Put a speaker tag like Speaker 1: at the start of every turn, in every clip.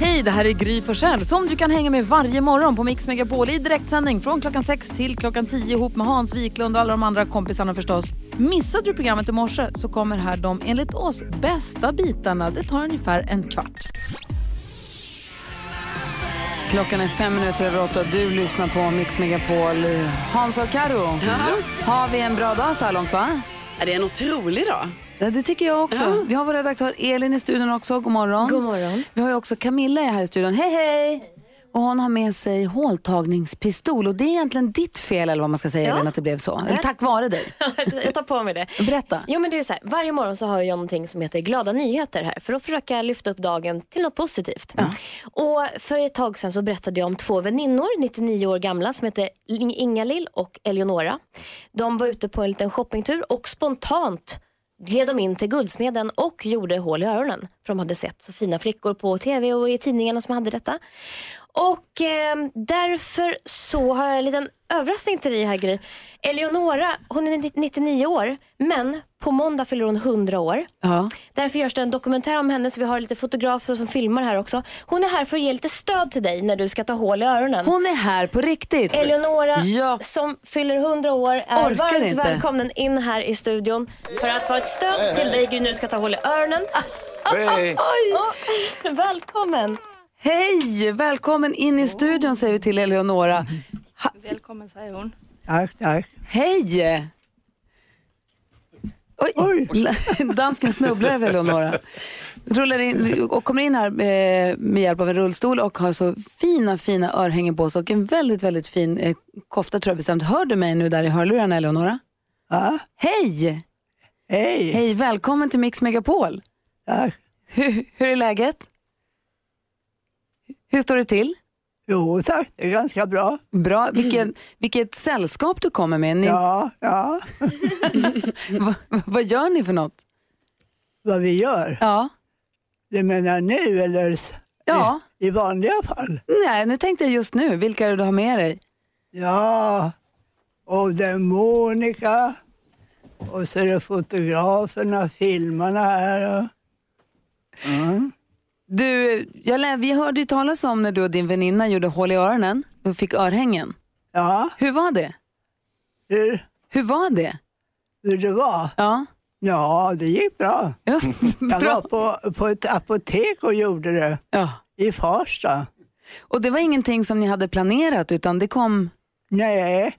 Speaker 1: Hej, det här är Gry Forssell som du kan hänga med varje morgon på Mix Megapol i direktsändning från klockan 6 till klockan 10 ihop med Hans Wiklund och alla de andra kompisarna förstås. Missade du programmet i morse så kommer här de enligt oss bästa bitarna. Det tar ungefär en kvart.
Speaker 2: Klockan är fem minuter över åtta och du lyssnar på Mix Megapol. Hans och Karo, har vi en bra dag så här långt va?
Speaker 3: Ja, det är en otrolig dag.
Speaker 2: Ja, det tycker jag också.
Speaker 3: Ja.
Speaker 2: Vi har vår redaktör Elin i studion också. God morgon.
Speaker 4: God morgon.
Speaker 2: Vi har ju också Camilla är här i studion. Hej, hej! Och hon har med sig håltagningspistol. Och det är egentligen ditt fel, eller vad man ska säga, Elin, att det blev så. Eller tack vare dig.
Speaker 4: jag tar på mig det.
Speaker 2: Berätta.
Speaker 4: Jo, men det är ju så här, varje morgon så har jag någonting som heter glada nyheter här för att försöka lyfta upp dagen till något positivt. Och för ett tag sedan så berättade jag om två väninnor, 99 år gamla, som heter Ing- Ingalill och Eleonora. De var ute på en liten shoppingtur och spontant gled de in till Guldsmeden och gjorde hål i öronen. För de hade sett så fina flickor på tv och i tidningarna som hade detta. Och eh, därför så har jag en liten överraskning till dig här Gry. Eleonora, hon är 99 år, men på måndag fyller hon 100 år.
Speaker 2: Ja.
Speaker 4: Därför görs det en dokumentär om henne, så vi har lite fotografer som filmar här också. Hon är här för att ge lite stöd till dig när du ska ta hål i öronen.
Speaker 2: Hon är här på riktigt.
Speaker 4: Eleonora
Speaker 2: Ja.
Speaker 4: som fyller 100 år är
Speaker 2: Orkar
Speaker 4: varmt
Speaker 2: inte.
Speaker 4: välkommen in här i studion för att vara ett stöd till dig Gry när du ska ta hål i öronen.
Speaker 5: Hej!
Speaker 4: Åh, välkommen!
Speaker 2: Hej! Välkommen in i studion säger vi till Eleonora.
Speaker 6: Välkommen säger hon.
Speaker 7: Tack, tack.
Speaker 2: Hej! Oj, dansken snubblar över Eleonora. Rullar in och kommer in här eh, med hjälp av en rullstol och har så fina, fina örhängen på sig och en väldigt, väldigt fin eh, kofta tror jag bestämt. Hör du mig nu där i hörlurarna Eleonora?
Speaker 7: Ja,
Speaker 2: Hej!
Speaker 7: hej.
Speaker 2: Hej, välkommen till Mix Megapol.
Speaker 7: Tack.
Speaker 2: Hur, hur är läget? Hur står det till?
Speaker 7: Jo tack, det är ganska bra.
Speaker 2: Bra. Vilken, vilket sällskap du kommer med. Ni,
Speaker 7: Mm. Ja, ja.
Speaker 2: va, vad gör ni för något?
Speaker 7: Vad vi gör.
Speaker 2: Ja.
Speaker 7: Du menar nu eller s-
Speaker 2: Ja.
Speaker 7: i vanliga fall?
Speaker 2: Nej, nu tänkte jag just nu. Vilka är det du har med dig?
Speaker 7: Ja. Och det är Monica. Och så är det fotograferna, filmarna här. Och...
Speaker 2: Du, jag lä- vi hörde ju talas om när du och din väninna gjorde hål i öronen och fick örhängen.
Speaker 7: Ja,
Speaker 2: Hur var det?
Speaker 7: hur,
Speaker 2: Hur var det?
Speaker 7: hur det var?
Speaker 2: Ja,
Speaker 7: Ja, det gick bra.
Speaker 2: ja.
Speaker 7: Jag var
Speaker 2: bra.
Speaker 7: på, på ett apotek och gjorde det
Speaker 2: Ja.
Speaker 7: i Farsta.
Speaker 2: Och det var ingenting som ni hade planerat utan det kom...
Speaker 7: Nej,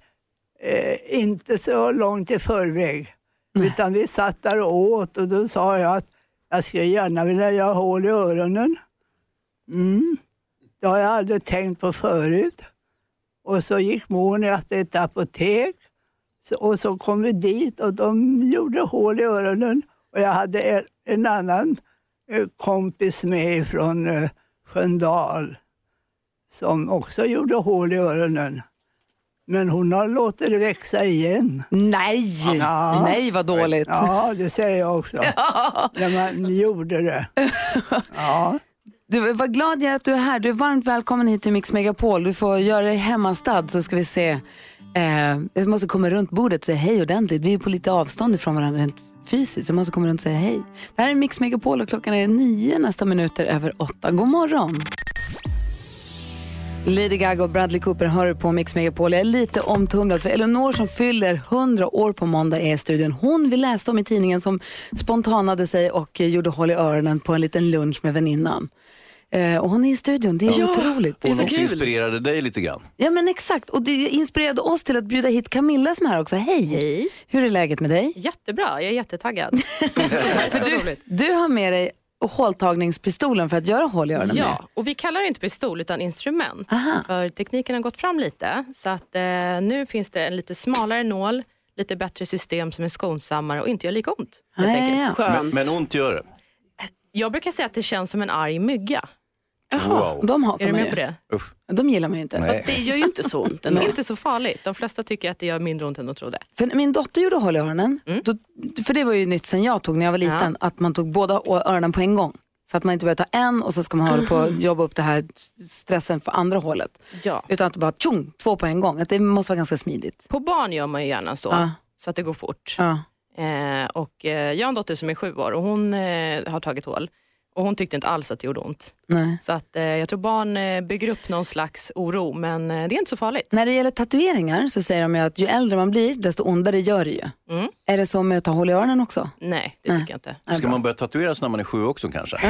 Speaker 7: eh, inte så långt i förväg. Utan vi satt där och åt och då sa jag att jag skulle gärna vilja göra hål i öronen. Mm. Det har jag aldrig tänkt på förut. Och så gick Monica till ett apotek så, och så kom vi dit och de gjorde hål i öronen. Och jag hade en, en annan eh, kompis med från eh, Sköndal som också gjorde hål i öronen. Men hon har låtit det växa igen.
Speaker 2: Nej!
Speaker 7: Ja.
Speaker 2: Nej, vad dåligt.
Speaker 7: Ja, det säger jag också. När man gjorde det. Ja,
Speaker 2: Du, vad glad jag är att du är här. Du är varmt välkommen hit till Mix Megapol. Du får göra dig hemmastad så ska vi se. Eh, jag måste komma runt bordet och säga hej ordentligt. Vi är på lite avstånd ifrån varandra rent fysiskt. så Jag måste komma runt och säga hej. Det här är Mix Megapol och klockan är nio nästa minuter över åtta. God morgon! Lady Gaga och Bradley Cooper hör på Mix Megapol. Jag är lite omtumlad för Eleanor som fyller 100 år på måndag är i studion. Hon vi läste om i tidningen som spontanade sig och eh, gjorde hål i öronen på en liten lunch med väninnan. Eh, och hon är i studion, det är otroligt.
Speaker 3: Det är
Speaker 5: Hon
Speaker 3: så
Speaker 5: också
Speaker 3: kul.
Speaker 5: inspirerade dig lite grann.
Speaker 2: Ja men exakt, och det inspirerade oss till att bjuda hit Camilla som är här också. Hej!
Speaker 8: Hej.
Speaker 2: Hur är läget med dig?
Speaker 8: Jättebra, jag är jättetaggad. så roligt.
Speaker 2: Du har med dig håltagningspistolen för att göra hål i öronen med.
Speaker 8: Ja, och vi kallar det inte pistol utan instrument.
Speaker 2: Aha.
Speaker 8: För tekniken har gått fram lite. Så att eh, nu finns det en lite smalare nål, lite bättre system som är skonsammare och inte gör lika ont. helt
Speaker 2: Ja,
Speaker 8: enkelt.
Speaker 2: ja, ja.
Speaker 5: Men, men ont gör det.
Speaker 8: Jag brukar säga att det känns som en arg mygga.
Speaker 5: Wow.
Speaker 2: De
Speaker 8: Är
Speaker 2: hatar
Speaker 8: du
Speaker 2: man
Speaker 8: med
Speaker 2: ju.
Speaker 8: på det?
Speaker 5: Usch.
Speaker 2: De gillar man ju inte.
Speaker 5: Nej.
Speaker 3: Fast det gör ju inte så ont
Speaker 8: Det
Speaker 3: ändå.
Speaker 8: är inte så farligt. De flesta tycker att det gör mindre ont än de trodde.
Speaker 2: För när min dotter gjorde hål i öronen, då, för det var ju nytt sen jag tog när jag var liten, att man tog båda å- öronen på en gång. Så att man inte behöver ta en och så ska man hålla på och jobba upp det här stressen för andra hålet.
Speaker 8: Ja.
Speaker 2: Utan att bara tjong, två på en gång. Att det måste vara ganska smidigt.
Speaker 8: På barn gör man ju gärna så,
Speaker 2: Ja.
Speaker 8: så att det går fort.
Speaker 2: Ja.
Speaker 8: Eh, och, eh, jag har en dotter som är sju år och hon eh, har tagit hål. Och hon tyckte inte alls att det gjorde ont.
Speaker 2: Nej.
Speaker 8: Så att, eh, jag tror barn eh, bygger upp någon slags oro, men eh, det är inte så farligt.
Speaker 2: När det gäller tatueringar så säger de ju att ju äldre man blir desto ondare gör det ju.
Speaker 8: Mm.
Speaker 2: Är det så med att ta hål i öronen också?
Speaker 8: Nej, det
Speaker 2: Nej.
Speaker 8: tycker jag inte.
Speaker 5: Ska man börja tatueras när man är sju också kanske? det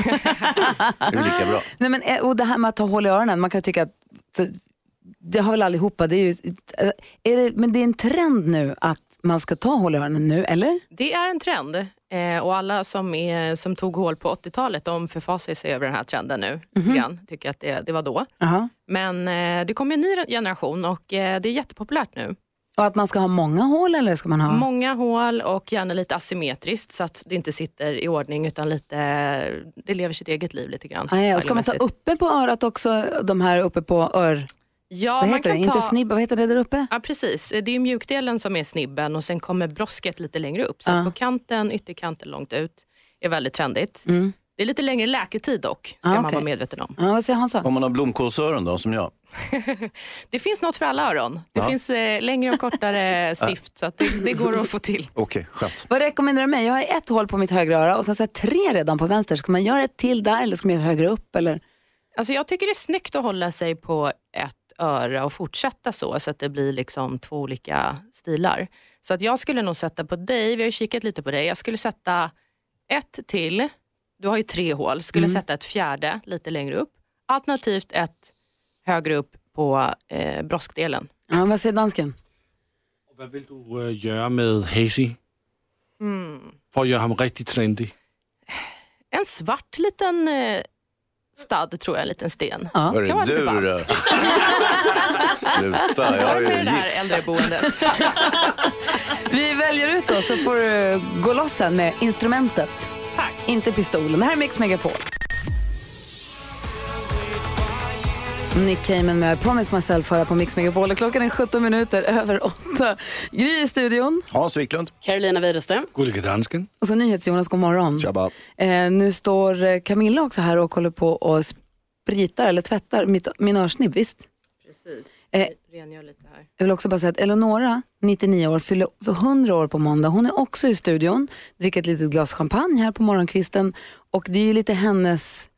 Speaker 5: är väl lika bra.
Speaker 2: Nej, men, eh, och det här med att ta hål i öronen, man kan ju tycka att så, det har väl allihopa. Det är ju, eh, är det, men det är en trend nu att man ska ta hål i öronen nu, eller?
Speaker 8: Det är en trend. Eh, och alla som, är, som tog hål på 80-talet, de förfasar sig över den här trenden nu.
Speaker 2: Mhm.
Speaker 8: lite grann. Tycker att det, det var då.
Speaker 2: Jaha.
Speaker 8: Men eh, det kommer en ny generation och eh, det är jättepopulärt nu.
Speaker 2: Och att man ska ha många hål eller ska man ha?
Speaker 8: Många hål och gärna lite asymmetriskt så att det inte sitter i ordning utan lite, det lever sitt eget liv lite grann.
Speaker 2: Ah, ja. Och ska man ta
Speaker 8: stylmässigt.
Speaker 2: uppe på örat också, de här uppe på ör...
Speaker 8: Ja,
Speaker 2: vad
Speaker 8: man
Speaker 2: heter
Speaker 8: kan
Speaker 2: det?
Speaker 8: ta...
Speaker 2: Inte snibba, vad heter det där uppe?
Speaker 8: Ja, precis. Eh, Det är mjukdelen som är snibben och sen kommer brosket lite längre upp. Så
Speaker 2: Ja.
Speaker 8: på kanten, ytterkanten långt ut är väldigt trendigt.
Speaker 2: Mm.
Speaker 8: Det är lite längre läketid dock, ska
Speaker 2: Ah,
Speaker 8: man
Speaker 2: okej.
Speaker 8: vara medveten om.
Speaker 2: Ja, vad säger Hansa?
Speaker 5: Om man har blomkålsöron då, som jag.
Speaker 8: Det finns något för alla öron. Det
Speaker 5: Ja.
Speaker 8: finns eh, längre och kortare stift så att det, det går att få till.
Speaker 5: Okej, skönt.
Speaker 2: Vad rekommenderar du mig? Jag har ett hål på mitt högra öra och sen så har jag tre redan på vänster. Ska man göra ett till där eller ska man göra ett högre upp? Eller?
Speaker 8: Alltså jag tycker det är snyggt att hålla sig på ett öra och fortsätta så, så att det blir liksom två olika stilar. Så att jag skulle nog sätta på dig, vi har ju kikat lite på dig, jag skulle sätta ett till, du har ju tre hål, skulle sätta ett fjärde lite längre upp, alternativt ett högre upp på eh, broskdelen.
Speaker 2: Ja, vad säger dansken?
Speaker 9: Hvad vil du øh, gøre med Hazy? For at gøre ham rigtig trendy.
Speaker 8: En svart liten eh, stad tror jag, en liten sten.
Speaker 2: Ja.
Speaker 5: Hörru,
Speaker 8: kan vara lite
Speaker 5: du
Speaker 8: ballt.
Speaker 5: då? Sluta, jag är
Speaker 8: Var det
Speaker 5: ju
Speaker 8: med det här
Speaker 5: gift.
Speaker 8: äldreboendet?
Speaker 2: Vi väljer ut då så får du gå loss sen med instrumentet.
Speaker 8: Tack.
Speaker 2: Inte pistolen. Det här är Mix Megapol. Nick Cayman med I Promise Myself höra på Mix Megapol. Klockan är 17 minuter över 8. Gry i studion.
Speaker 5: Hans Wiklund.
Speaker 3: Carolina Widerström.
Speaker 9: Gullige dansken.
Speaker 2: Och så NyhetsJonas, god morgon.
Speaker 10: Tjabba.
Speaker 2: Eh, nu står eh, Camilla också här och håller på och spritar eller tvättar mitt, min örsnibb, visst?
Speaker 8: Precis,
Speaker 2: Eh,
Speaker 8: rengör lite här.
Speaker 2: Jag vill också bara säga att Eleonora, 99 år, fyller 100 år på måndag. Hon är också i studion, dricker ett litet glas champagne här på morgonkvisten. Och det är ju lite hennes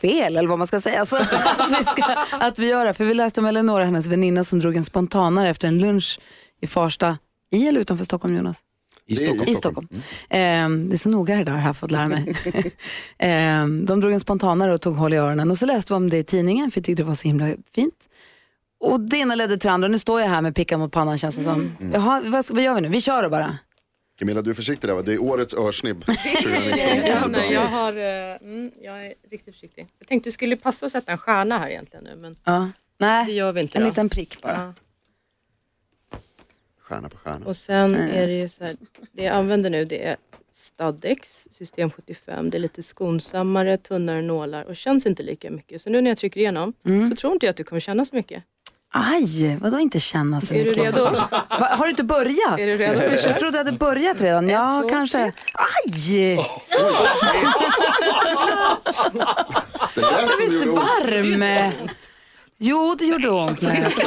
Speaker 2: fel, eller vad man ska säga, så att, vi ska, att vi gör det. För vi läste om Eleonora, hennes väninna, som drog en spontanare efter en lunch i Farsta. I eller utanför Stockholm, Jonas?
Speaker 5: I
Speaker 10: Det är-
Speaker 5: Stockholm.
Speaker 2: I Stockholm. Ehm, det är så noga det där har jag fått lära mig. Ehm, de drog en spontanare och tog hål i öronen och så läste vi om det i tidningen för jag tyckte det var så himla fint. Och det ena ledde till det andra nu står jag här med pickan mot pannan känns det
Speaker 8: Mm.
Speaker 2: som. Jaha, vad, vad gör vi nu? Vi kör då bara.
Speaker 10: Camilla, du är försiktig där va? Det är årets örsnibb 2019.
Speaker 8: Ja, nej, jag, har, eh, mm, jag är riktigt försiktig. Jag tänkte det skulle passa att sätta en stjärna här egentligen nu, men
Speaker 2: Ja.
Speaker 8: det
Speaker 2: Nej,
Speaker 8: gör vi inte.
Speaker 2: en
Speaker 8: Då.
Speaker 2: liten prick bara.
Speaker 8: Ja.
Speaker 10: Stjärna på stjärna.
Speaker 8: Och sen är det ju så här, det jag använder nu det är Stadex system 75. Det är lite skonsammare, tunnare nålar och känns inte lika mycket. Så nu när jag trycker igenom
Speaker 2: Mm.
Speaker 8: så tror inte jag att du kommer känna så mycket.
Speaker 2: Aj, vadå inte känna så
Speaker 8: Är du
Speaker 2: mycket?
Speaker 8: redo?
Speaker 2: Va, har du inte börjat?
Speaker 8: Är du redo?
Speaker 2: Jag trodde du hade börjat redan. Ja,
Speaker 8: två,
Speaker 2: kanske. Aj!
Speaker 10: Det lät som
Speaker 2: Jag
Speaker 10: det
Speaker 2: blir
Speaker 10: gjorde
Speaker 2: så
Speaker 10: ont.
Speaker 2: varm. Jo, det gjorde ont. när jag-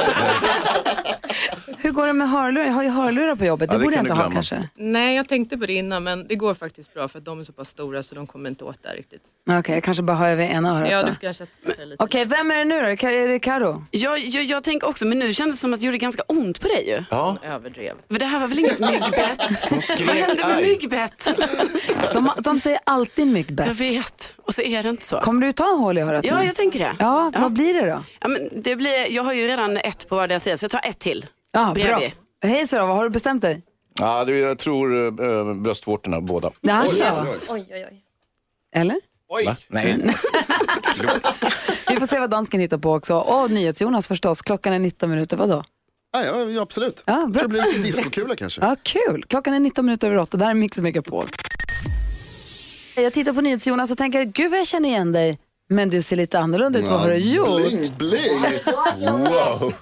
Speaker 2: Hur går det med hörlurar? Jag har ju hörlurar på jobbet. Det,
Speaker 5: Ja, det
Speaker 2: borde jag
Speaker 5: kan
Speaker 2: inte
Speaker 5: du
Speaker 2: ha
Speaker 5: glömma.
Speaker 2: kanske.
Speaker 8: Nej, jag tänkte på det innan men det går faktiskt bra för att de är så pass stora så de kommer inte åt där riktigt.
Speaker 2: Okej, jag kanske bara har över ena örat
Speaker 8: Ja,
Speaker 2: då.
Speaker 8: du kanske sätter lite.
Speaker 2: Okej, vem är det nu då? Ka- Är det Karo?
Speaker 3: Jag, jag, jag tänker också, men nu kändes det som att det gjorde ganska ont på dig ju.
Speaker 5: Ja,
Speaker 8: Överdrev.
Speaker 3: För det här var väl inget myggbett?
Speaker 5: hon
Speaker 3: Vad
Speaker 5: skrek
Speaker 3: hände med
Speaker 5: aj.
Speaker 3: myggbett?
Speaker 2: De, de säger alltid
Speaker 3: Jag
Speaker 2: myggbett.
Speaker 3: vet. Och så är det inte så.
Speaker 2: Kommer du ta hål i örat
Speaker 3: Ja,
Speaker 2: nu?
Speaker 3: jag tänker det.
Speaker 2: ja,
Speaker 3: Ja.
Speaker 2: vad blir det då?
Speaker 3: Ja, men det blir, jag har ju redan ett på vardera sida, så jag tar ett till.
Speaker 2: Ja, bra.
Speaker 3: Bredvid.
Speaker 2: Hej så då, vad har du bestämt dig?
Speaker 5: Ja, det, jag tror äh, bröstvårtorna båda.
Speaker 2: Alltså,
Speaker 4: Oj, oj, oj.
Speaker 2: Eller?
Speaker 5: Va? Nej.
Speaker 2: Vi får se vad dansken hittar på också. Och NyhetsJonas förstås. Klockan är 19 minuter, vadå?
Speaker 10: Ja, ja, ja, absolut.
Speaker 2: Ja,
Speaker 10: Jag
Speaker 2: bra.
Speaker 10: tror det blir lite discokula kanske.
Speaker 2: Ja, kul. Klockan är 19 minuter över 8. Där är Mix Megapol. Jag tittar på NyhetsJonas och tänker, gud vad jag känner igen dig. Men du ser lite annorlunda ut. Vad har du gjort?
Speaker 10: Bling, bling.
Speaker 5: Wow.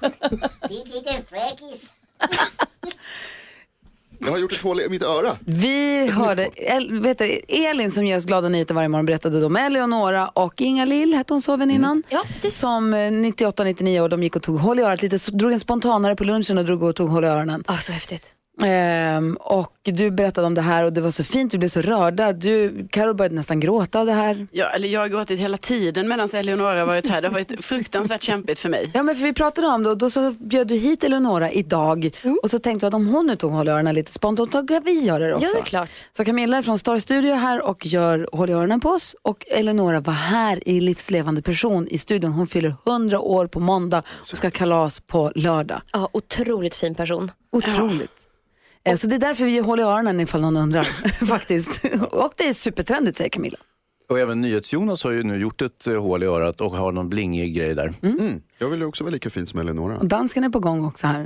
Speaker 10: Jag har gjort ett hål i mitt öra.
Speaker 2: Vi hörde El, vet du, Elin som ger oss glada nyheter varje morgon berättade då om Eleonora och Inga-Lill, hette hon så väl innan?
Speaker 4: Mm. Ja, precis.
Speaker 2: Som eh, 98-99 år, de gick och tog hål i örat lite, så drog en spontanare på lunchen och drog och tog hål i öronen.
Speaker 4: Ah, så häftigt.
Speaker 2: Ehm, och du berättade om det här och det var så fint, du blev så rörda. Du, Carol började nästan gråta av det här.
Speaker 3: Ja, eller jag har gråtit hela tiden medan Eleonora har varit här. Det har varit fruktansvärt kämpigt för mig.
Speaker 2: Ja men för vi pratade om det och då så bjöd du hit Eleonora idag och så tänkte vi att om hon nu tog Håll i öronen lite spontant, då kan vi göra det också.
Speaker 4: Mm. Ja, det är klart.
Speaker 2: Så Camilla är från Star Studio är här och gör Håll i öronen på oss och Eleonora var här i livslevande person i studion. Hon fyller 100 år på måndag och ska ha kalas på lördag.
Speaker 4: Ja, otroligt fin person.
Speaker 2: Otroligt. Eh, Så det är därför vi håller i öronen ifall någon undrar faktiskt. Och det är supertrendigt säger Camilla.
Speaker 5: Och även NyhetsJonas har ju nu gjort ett eh, hål i örat och har någon blingig grej där.
Speaker 10: Mm. Jag vill ju också vara lika fin som Eleonora.
Speaker 2: Och dansken är på gång också här.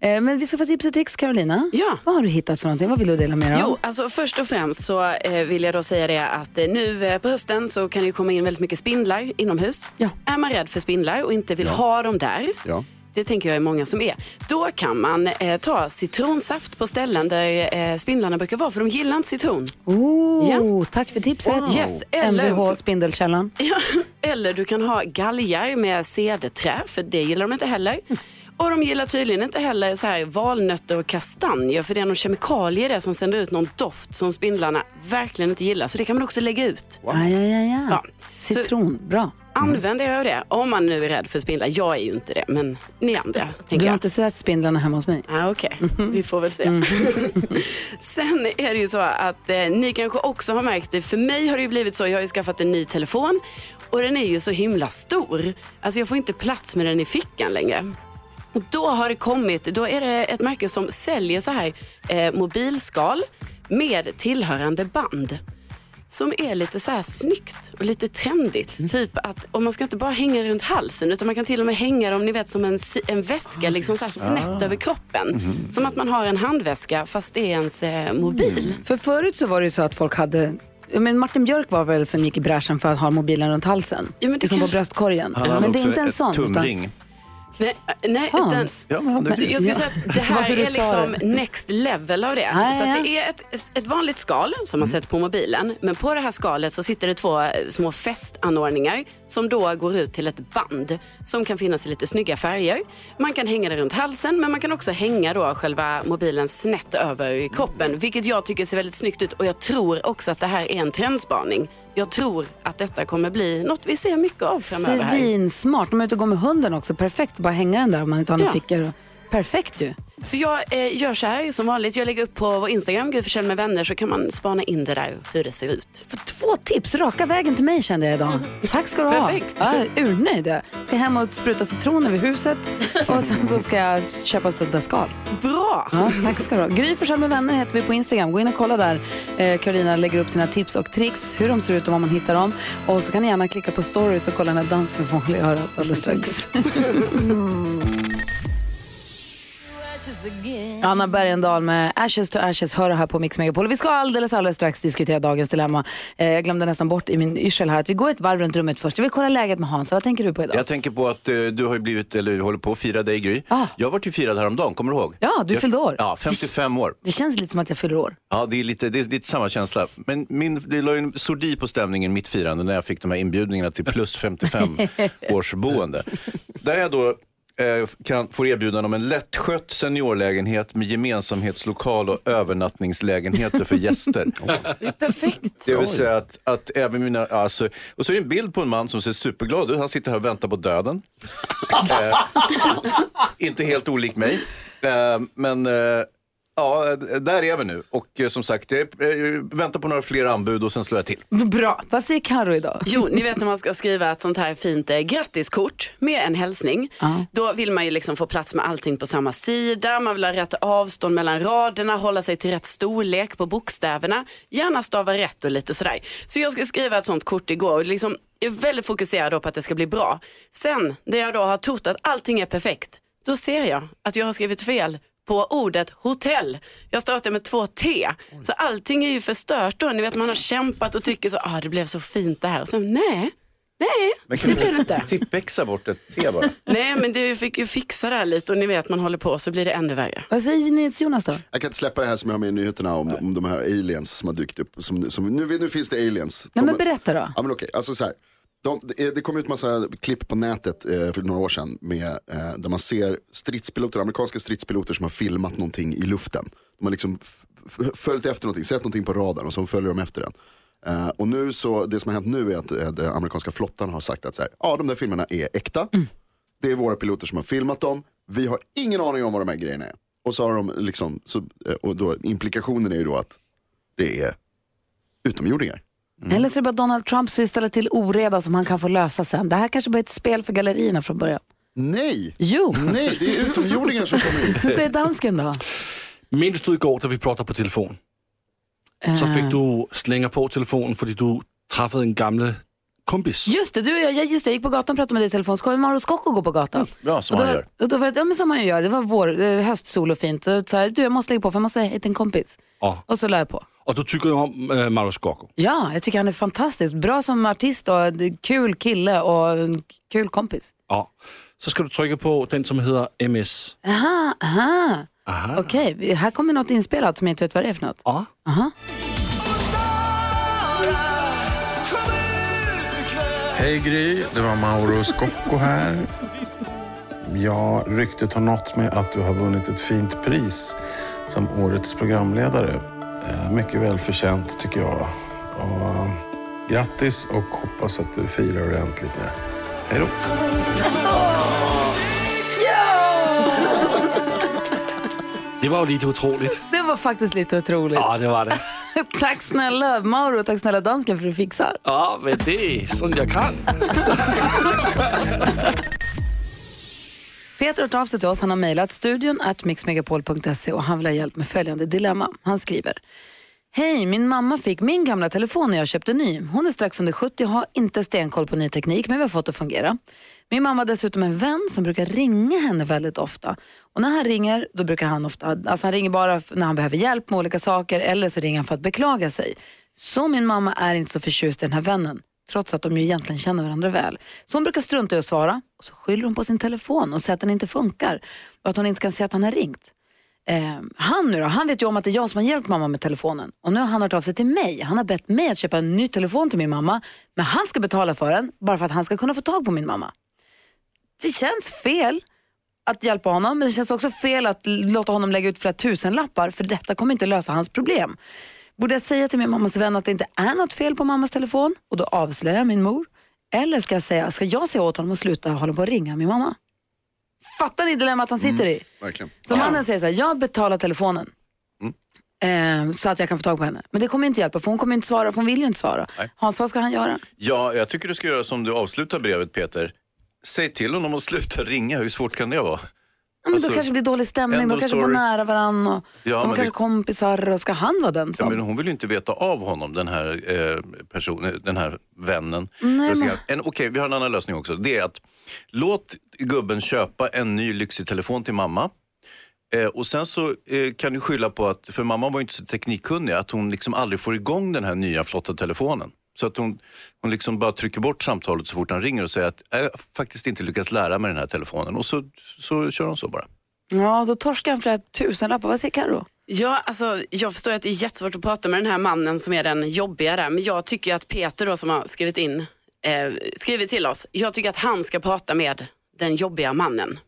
Speaker 2: Eh, Men vi ska få tips och tricks Carolina.
Speaker 3: Ja.
Speaker 2: Vad har du hittat för någonting? Vad vill du dela med dig av?
Speaker 3: Jo, alltså först och främst så eh, vill jag då säga det att eh, nu eh, på hösten så kan det ju komma in väldigt mycket spindlar inomhus. Är man rädd för spindlar och inte vill ha dem där,
Speaker 10: Ja.
Speaker 3: det tänker jag är många som är, då kan man eh, ta citronsaft på ställen där eh, spindlarna brukar vara för de gillar inte citron.
Speaker 2: Oh,
Speaker 3: Ja.
Speaker 2: Tack för tipset.
Speaker 3: Wow. Yes, eller-
Speaker 2: MVH Spindelkällan.
Speaker 3: Ja, eller du kan ha galgar med cederträ, för det gillar de inte heller. Och de gillar tydligen inte heller så här valnötter och kastanjer, för det är någon kemikalie i det som sänder ut någon doft som spindlarna verkligen inte gillar. Så det kan man också lägga ut.
Speaker 2: Ja, ja, ja, ja.
Speaker 3: Ja.
Speaker 2: Citron, bra.
Speaker 3: Använd er av det, om man nu är rädd för spindlar. Jag är ju inte det, men ni andra,
Speaker 2: Du
Speaker 3: tänker
Speaker 2: har
Speaker 3: jag.
Speaker 2: inte sett spindlarna hemma hos mig?
Speaker 3: Ah, Okej, vi får väl se. Sen är det ju så att eh, ni kanske också har märkt det. För mig har det ju blivit så. Jag har ju skaffat en ny telefon och den är ju så himla stor. Alltså jag får inte plats med den i fickan längre. Och då har det kommit, då är det ett märke som säljer så här eh, mobilskal med tillhörande band. Som är lite så här snyggt och lite trendigt. Typ att, och man ska inte bara hänga runt halsen utan man kan till och med hänga dem, ni vet som en, si- en väska, liksom så här snett över kroppen. Som att man har en handväska fast det är ens eh, mobil.
Speaker 2: Mm. För förut så var det ju så att folk hade Ja, men Martin Björk var väl som gick i bräschen för att ha mobilen runt halsen.
Speaker 3: Ja, men det
Speaker 2: liksom på
Speaker 3: kanske-
Speaker 2: bröstkorgen.
Speaker 5: Han hade
Speaker 2: men det är
Speaker 5: också
Speaker 2: inte en
Speaker 5: ett
Speaker 2: sån.
Speaker 5: Tumring.
Speaker 3: Nej, eh, nej utan,
Speaker 2: Hans.
Speaker 5: Ja, men han
Speaker 2: Men-
Speaker 5: duktig.
Speaker 3: jag skulle
Speaker 2: Ja.
Speaker 3: säga att det
Speaker 2: Det var
Speaker 3: här är
Speaker 2: hur du sa
Speaker 3: liksom
Speaker 2: det.
Speaker 3: next level av det.
Speaker 2: Ah,
Speaker 3: så att
Speaker 2: ja. Mm.
Speaker 3: det är ett, ett vanligt skal som man sätter på mobilen. Men på det här skalet så sitter det två eh, små fästanordningar som då går ut till ett band som kan finnas i lite snygga färger. Man kan hänga det runt halsen men man kan också hänga då själva mobilen snett över kroppen. Vilket jag tycker ser väldigt snyggt ut och jag tror också att det här är en trendspaning. Jag tror att detta kommer bli något vi ser mycket av framöver. här.
Speaker 2: Svinsmart. De är ute och går med hunden också. Perfekt att bara hänga den där om man inte har några
Speaker 3: Ja.
Speaker 2: fickor. Perfekt ju.
Speaker 3: Så jag eh, gör så här som vanligt. Jag lägger upp på vår Instagram, Gud Forssell med vänner, så kan man spana in det där hur det ser ut.
Speaker 2: Två tips raka vägen till mig kände jag idag. Tack ska du ha.
Speaker 3: Perfekt.
Speaker 2: Ja, jag är urnöjd. Jag ska hem och spruta citron över huset och sen så ska jag köpa ett sånt där skal.
Speaker 3: Bra!
Speaker 2: Ja, tack ska du ha. Gry Forssell med vänner heter vi på Instagram. Gå in och kolla där. Eh, Carolina lägger upp sina tips och tricks, hur de ser ut och var man hittar dem. Och så kan ni gärna klicka på stories och kolla när dansken får hålla i örat alldeles strax. Anna Bergendahl med Ashes to Ashes hör det här på Mix Megapol. Vi ska alldeles, alldeles strax diskutera dagens dilemma. Eh, jag glömde nästan bort i min yrsel här att vi går ett varv runt rummet först. Jag vill kolla läget med Hans. Vad tänker du på idag?
Speaker 5: Jag tänker på att eh, du har ju blivit, eller du håller på att fira dig Gry. Jag vart ju firad häromdagen, kommer du ihåg?
Speaker 2: Ja, du
Speaker 5: jag,
Speaker 2: fyllde år.
Speaker 5: Ja, 55 år.
Speaker 2: Det känns lite som att jag fyller år.
Speaker 5: Ja, det är lite, det är lite samma känsla. Men min, det la ju en sordi på stämningen mitt firande när jag fick de här inbjudningarna till plus 55 årsboende. Där jag då eh, kan, får erbjudan om en lättskött seniorlägenhet med gemensamhetslokal och övernattningslägenheter för gäster.
Speaker 3: Perfekt.
Speaker 5: Det vill säga att, att även mina, alltså, och så är det en bild på en man som ser superglad ut. Han sitter här och väntar på döden. eh, inte helt olik mig. Eh, men eh, ja, där är vi nu. Och eh, som sagt, jag eh, väntar på några fler anbud och sen slår jag till.
Speaker 2: Bra. Vad säger Karo idag?
Speaker 3: Jo, ni vet när man ska skriva ett sånt här fint eh, grattiskort med en hälsning. Då vill man ju liksom få plats med allting på samma sida. Man vill ha rätt avstånd mellan raderna, hålla sig till rätt storlek på bokstäverna. Gärna stava rätt och lite sådär. Så jag skulle skriva ett sånt kort igår och liksom är väldigt fokuserad då på att det ska bli bra. Sen, när jag då har trott att allting är perfekt, då ser jag att jag har skrivit fel på ordet hotell. Jag startade med två T. Så allting är ju förstört då. Ni vet man har kämpat och tycker så, ah, det blev så fint det här. Och sen nej, nej,
Speaker 5: Men
Speaker 3: det blev det inte.
Speaker 5: tippexa bort ett T bara?
Speaker 3: Nej, men du fick ju fixa det här lite och ni vet man håller på så blir det ännu värre.
Speaker 2: Vad säger NyhetsJonas då?
Speaker 10: Jag kan inte släppa det här som jag har med i nyheterna om, om de här aliens som har dykt upp. Som, som, nu, nu finns det aliens.
Speaker 2: Nej, men
Speaker 10: De-
Speaker 2: berätta då.
Speaker 10: Ja men okej, alltså så här. De, det- det kom ut massa klipp på nätet eh, för några år sedan med, eh, där man ser stridspiloter, amerikanska stridspiloter som har filmat någonting i luften. De har liksom f- f- följt efter någonting, sett någonting på radarn och så följer de efter den. Eh, och nu så, det som har hänt nu är att eh, den amerikanska flottan har sagt att så här, ja, de där filmerna är äkta. Det är våra piloter som har filmat dem. Vi har ingen aning om vad de här grejerna är. Och så har de liksom, så, eh, och då, implikationen är ju då att det är utomjordingar.
Speaker 2: Eller så är det bara Donald Trump som vill ställa till oreda som han kan få lösa sen. Det här kanske bara är ett spel för gallerierna från början.
Speaker 10: Nej!
Speaker 2: Jo!
Speaker 10: Nej, det är utomjordingar som kommer
Speaker 2: Vad säger dansken då?
Speaker 9: Minns du igår när vi pratade på telefon? Så
Speaker 2: Eh,
Speaker 9: fick du slänga på telefonen för att du träffade en gamle kompis.
Speaker 2: Just det, du och jag, jag- just det, jag gick på gatan och pratade med dig i telefon. Så kom Mauro Scocco gå på gatan.
Speaker 5: Mm. Ja, som
Speaker 2: och då,
Speaker 5: han gör.
Speaker 2: Och då var, ja, men som man ju gör. Det var vår, eh, höstsol och fint. Och så här, du, jag måste lägga på för jag måste säga hej till en kompis.
Speaker 9: Ja.
Speaker 2: Och så la jag på.
Speaker 9: Och du tycker om äh, Mauro Scocco.
Speaker 2: Ja, jag tycker han är fantastisk. Bra som artist och en kul kille och en kul kompis.
Speaker 9: Ja. Så ska du trycka på den som heter MS.
Speaker 2: Aha, aha.
Speaker 9: Aha.
Speaker 2: Okej, vi- här kommer något inspelat som jag inte vet vad det är för något.
Speaker 9: Ja.
Speaker 2: Aha.
Speaker 11: Hej Gry, det var Mauro Scocco här. Ja, ryktet har nått mig att du har vunnit ett fint pris som årets programledare. Eh, Mycket välförtjänt tycker jag. Och, eh, grattis och hoppas att du firar ordentligt nu. Hej då!
Speaker 9: Det var ju lite otroligt.
Speaker 2: Det var faktiskt lite otroligt.
Speaker 9: Ja, det var det.
Speaker 2: tack snälla Mauro och tack snälla dansken för att du fixar.
Speaker 9: Ja, men det är sånt jag kan.
Speaker 2: Peter har tagit av sig till oss. Han har mejlat studion at mixmegapol.se och han vill ha hjälp med följande dilemma. Han skriver. Hej, min mamma fick min gamla telefon när jag köpte ny. Hon är strax under 70 och har inte stenkoll på ny teknik men vi har fått det att fungera. Min mamma har dessutom en vän som brukar ringa henne väldigt ofta. Och när han ringer, då brukar han ofta, alltså han ringer bara f- när han behöver hjälp med olika saker eller så ringer han för att beklaga sig. Så min mamma är inte så förtjust i den här vännen, trots att de ju egentligen känner varandra väl. Så hon brukar strunta i att svara och så skyller hon på sin telefon och säger att den inte funkar och att hon inte kan se att han har ringt. Eh, han nu då, han vet ju om att det är jag som har hjälpt mamma med telefonen. Och nu har han hört av sig till mig. Han har bett mig att köpa en ny telefon till min mamma. Men han ska betala för den, bara för att han ska kunna få tag på min mamma. Det känns fel att hjälpa honom, men det känns också fel att l- låta honom lägga ut flera tusenlappar, för detta kommer inte lösa hans problem. Borde jag säga till min mammas vän att det inte är något fel på mammas telefon och då avslöjar jag min mor? Eller ska jag säga, ska jag säga åt honom att sluta hålla på och ringa min mamma? Fattar ni dilemmat han sitter i?
Speaker 10: Verkligen.
Speaker 2: Så mannen säger så här, jag betalar telefonen.
Speaker 5: Mm.
Speaker 2: Eh, så att jag kan få tag på henne. Men det kommer inte hjälpa för hon kommer inte svara, för hon vill ju inte svara. Hans, vad ska han göra?
Speaker 5: Ja, jag tycker du ska göra som du avslutar brevet Peter. Säg till honom att sluta ringa, hur svårt kan det vara?
Speaker 2: Ja, men
Speaker 5: Alltså,
Speaker 2: då kanske det blir dålig stämning,
Speaker 5: end
Speaker 2: de
Speaker 5: of
Speaker 2: kanske bor
Speaker 5: story.
Speaker 2: nära varandra. Och
Speaker 5: Ja,
Speaker 2: de
Speaker 5: men
Speaker 2: kanske
Speaker 5: det-
Speaker 2: kompisar. Och ska han vara den
Speaker 5: Ja,
Speaker 2: som...
Speaker 5: men hon vill ju inte veta av honom, den här eh, personen, den här vännen.
Speaker 2: Nej,
Speaker 5: Jag ska-
Speaker 2: men-
Speaker 5: en, okej, vi har en annan lösning också. Det är att låt gubben köpa en ny lyxig telefon till mamma. Eh, och sen så eh, kan du skylla på att, för mamma var ju inte så teknikkunnig, att hon liksom aldrig får igång den här nya flotta telefonen. Så att hon, hon liksom bara trycker bort samtalet så fort han ringer och säger att jag har faktiskt inte lyckats lära mig den här telefonen. Och så, så kör hon så bara.
Speaker 2: Ja, då torskar han flera tusenlappar. Vad säger Carro?
Speaker 3: Ja, alltså, jag förstår att det är jättesvårt att prata med den här mannen som är den jobbiga där, men jag tycker att Peter då som har skrivit in, eh, skrivit till oss, jag tycker att han ska prata med den jobbiga mannen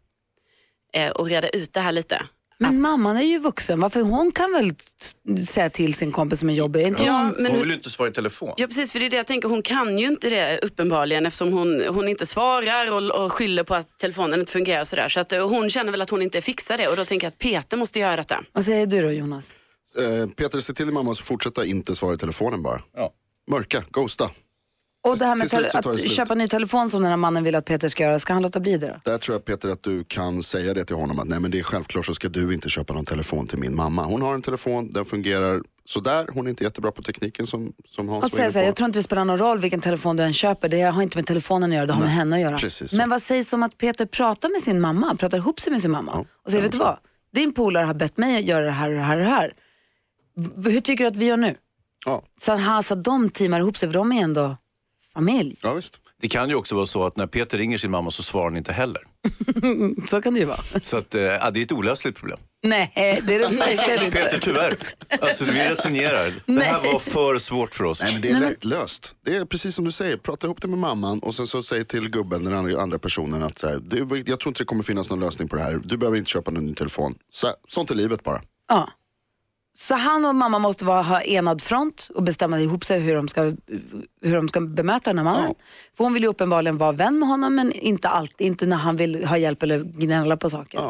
Speaker 3: eh, och reda ut det här lite.
Speaker 2: Men mamman är ju vuxen, varför hon kan väl t- säga till sin kompis som är jobbig? Är Inte
Speaker 3: Ja,
Speaker 2: hon...
Speaker 3: men
Speaker 5: hon
Speaker 3: hur-
Speaker 5: vill ju inte svara i telefon.
Speaker 3: Ja precis, för det är det jag tänker, hon kan ju inte det uppenbarligen eftersom hon, hon inte svarar och, och skyller på att telefonen inte fungerar och sådär. Så att, eh, hon känner väl att hon inte fixar det och då tänker jag att Peter måste göra detta.
Speaker 2: Vad säger du då Jonas?
Speaker 10: Eh, Peter, se till din mamma att fortsätta inte svara i telefonen bara. Mörka, ghosta.
Speaker 2: Och det här med
Speaker 10: Till slut så
Speaker 2: tele-
Speaker 10: tar det
Speaker 2: att
Speaker 10: slut.
Speaker 2: köpa ny telefon som den här mannen vill att Peter ska göra, ska han låta bli det då?
Speaker 10: Där tror jag Peter att du kan säga det till honom att nej men det är självklart så ska du inte köpa någon telefon till min mamma. Hon har en telefon, den fungerar sådär, hon är inte jättebra på tekniken som, som Hans
Speaker 2: Att
Speaker 10: var
Speaker 2: säga
Speaker 10: inne
Speaker 2: så
Speaker 10: på.
Speaker 2: här, Alltså, jag tror inte det spelar någon roll vilken telefon du än köper, det har inte med telefonen att göra, det har med henne att göra.
Speaker 10: precis så.
Speaker 2: Men vad sägs om att Peter pratar med sin mamma, pratar ihop sig med sin mamma och säger, vet du vad? Din polare har bett mig att göra det här och det här och det här. V- hur tycker du att vi gör nu?
Speaker 10: Ja.
Speaker 2: Så, att, ha- så att de teamar ihop sig, för de är ändå familj.
Speaker 10: Ja, visst.
Speaker 5: Det kan ju också vara så att när Peter ringer sin mamma så svarar hon inte heller.
Speaker 2: så kan det ju vara.
Speaker 5: Så att, eh, ja, det är ett olösligt problem.
Speaker 2: Nej, det är det verkligen
Speaker 5: Peter,
Speaker 2: inte.
Speaker 5: tyvärr. Alltså, vi resignerar. Det här
Speaker 2: Nej.
Speaker 5: var för svårt för oss.
Speaker 10: Nej, men det är lättlöst. Det är precis som du säger, prata ihop det med mamman och sen så säg till gubben, den andra, andra personen att så här, du, jag tror inte det kommer finnas någon lösning på det här. Du behöver inte köpa någon ny telefon. Så, sånt är livet bara.
Speaker 2: Ja. Så han och mamma måste vara, ha enad front och bestämma ihop sig hur de ska, hur de ska bemöta den här mannen. För hon vill ju uppenbarligen vara vän med honom men inte, allt, inte när han vill ha hjälp eller gnälla på saker.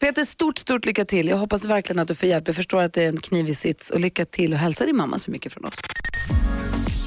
Speaker 2: Peter, stort, stort lycka till. Jag hoppas verkligen att du får hjälp. Jag förstår att det är en knivig sits. Och lycka till och hälsa din mamma så mycket från oss.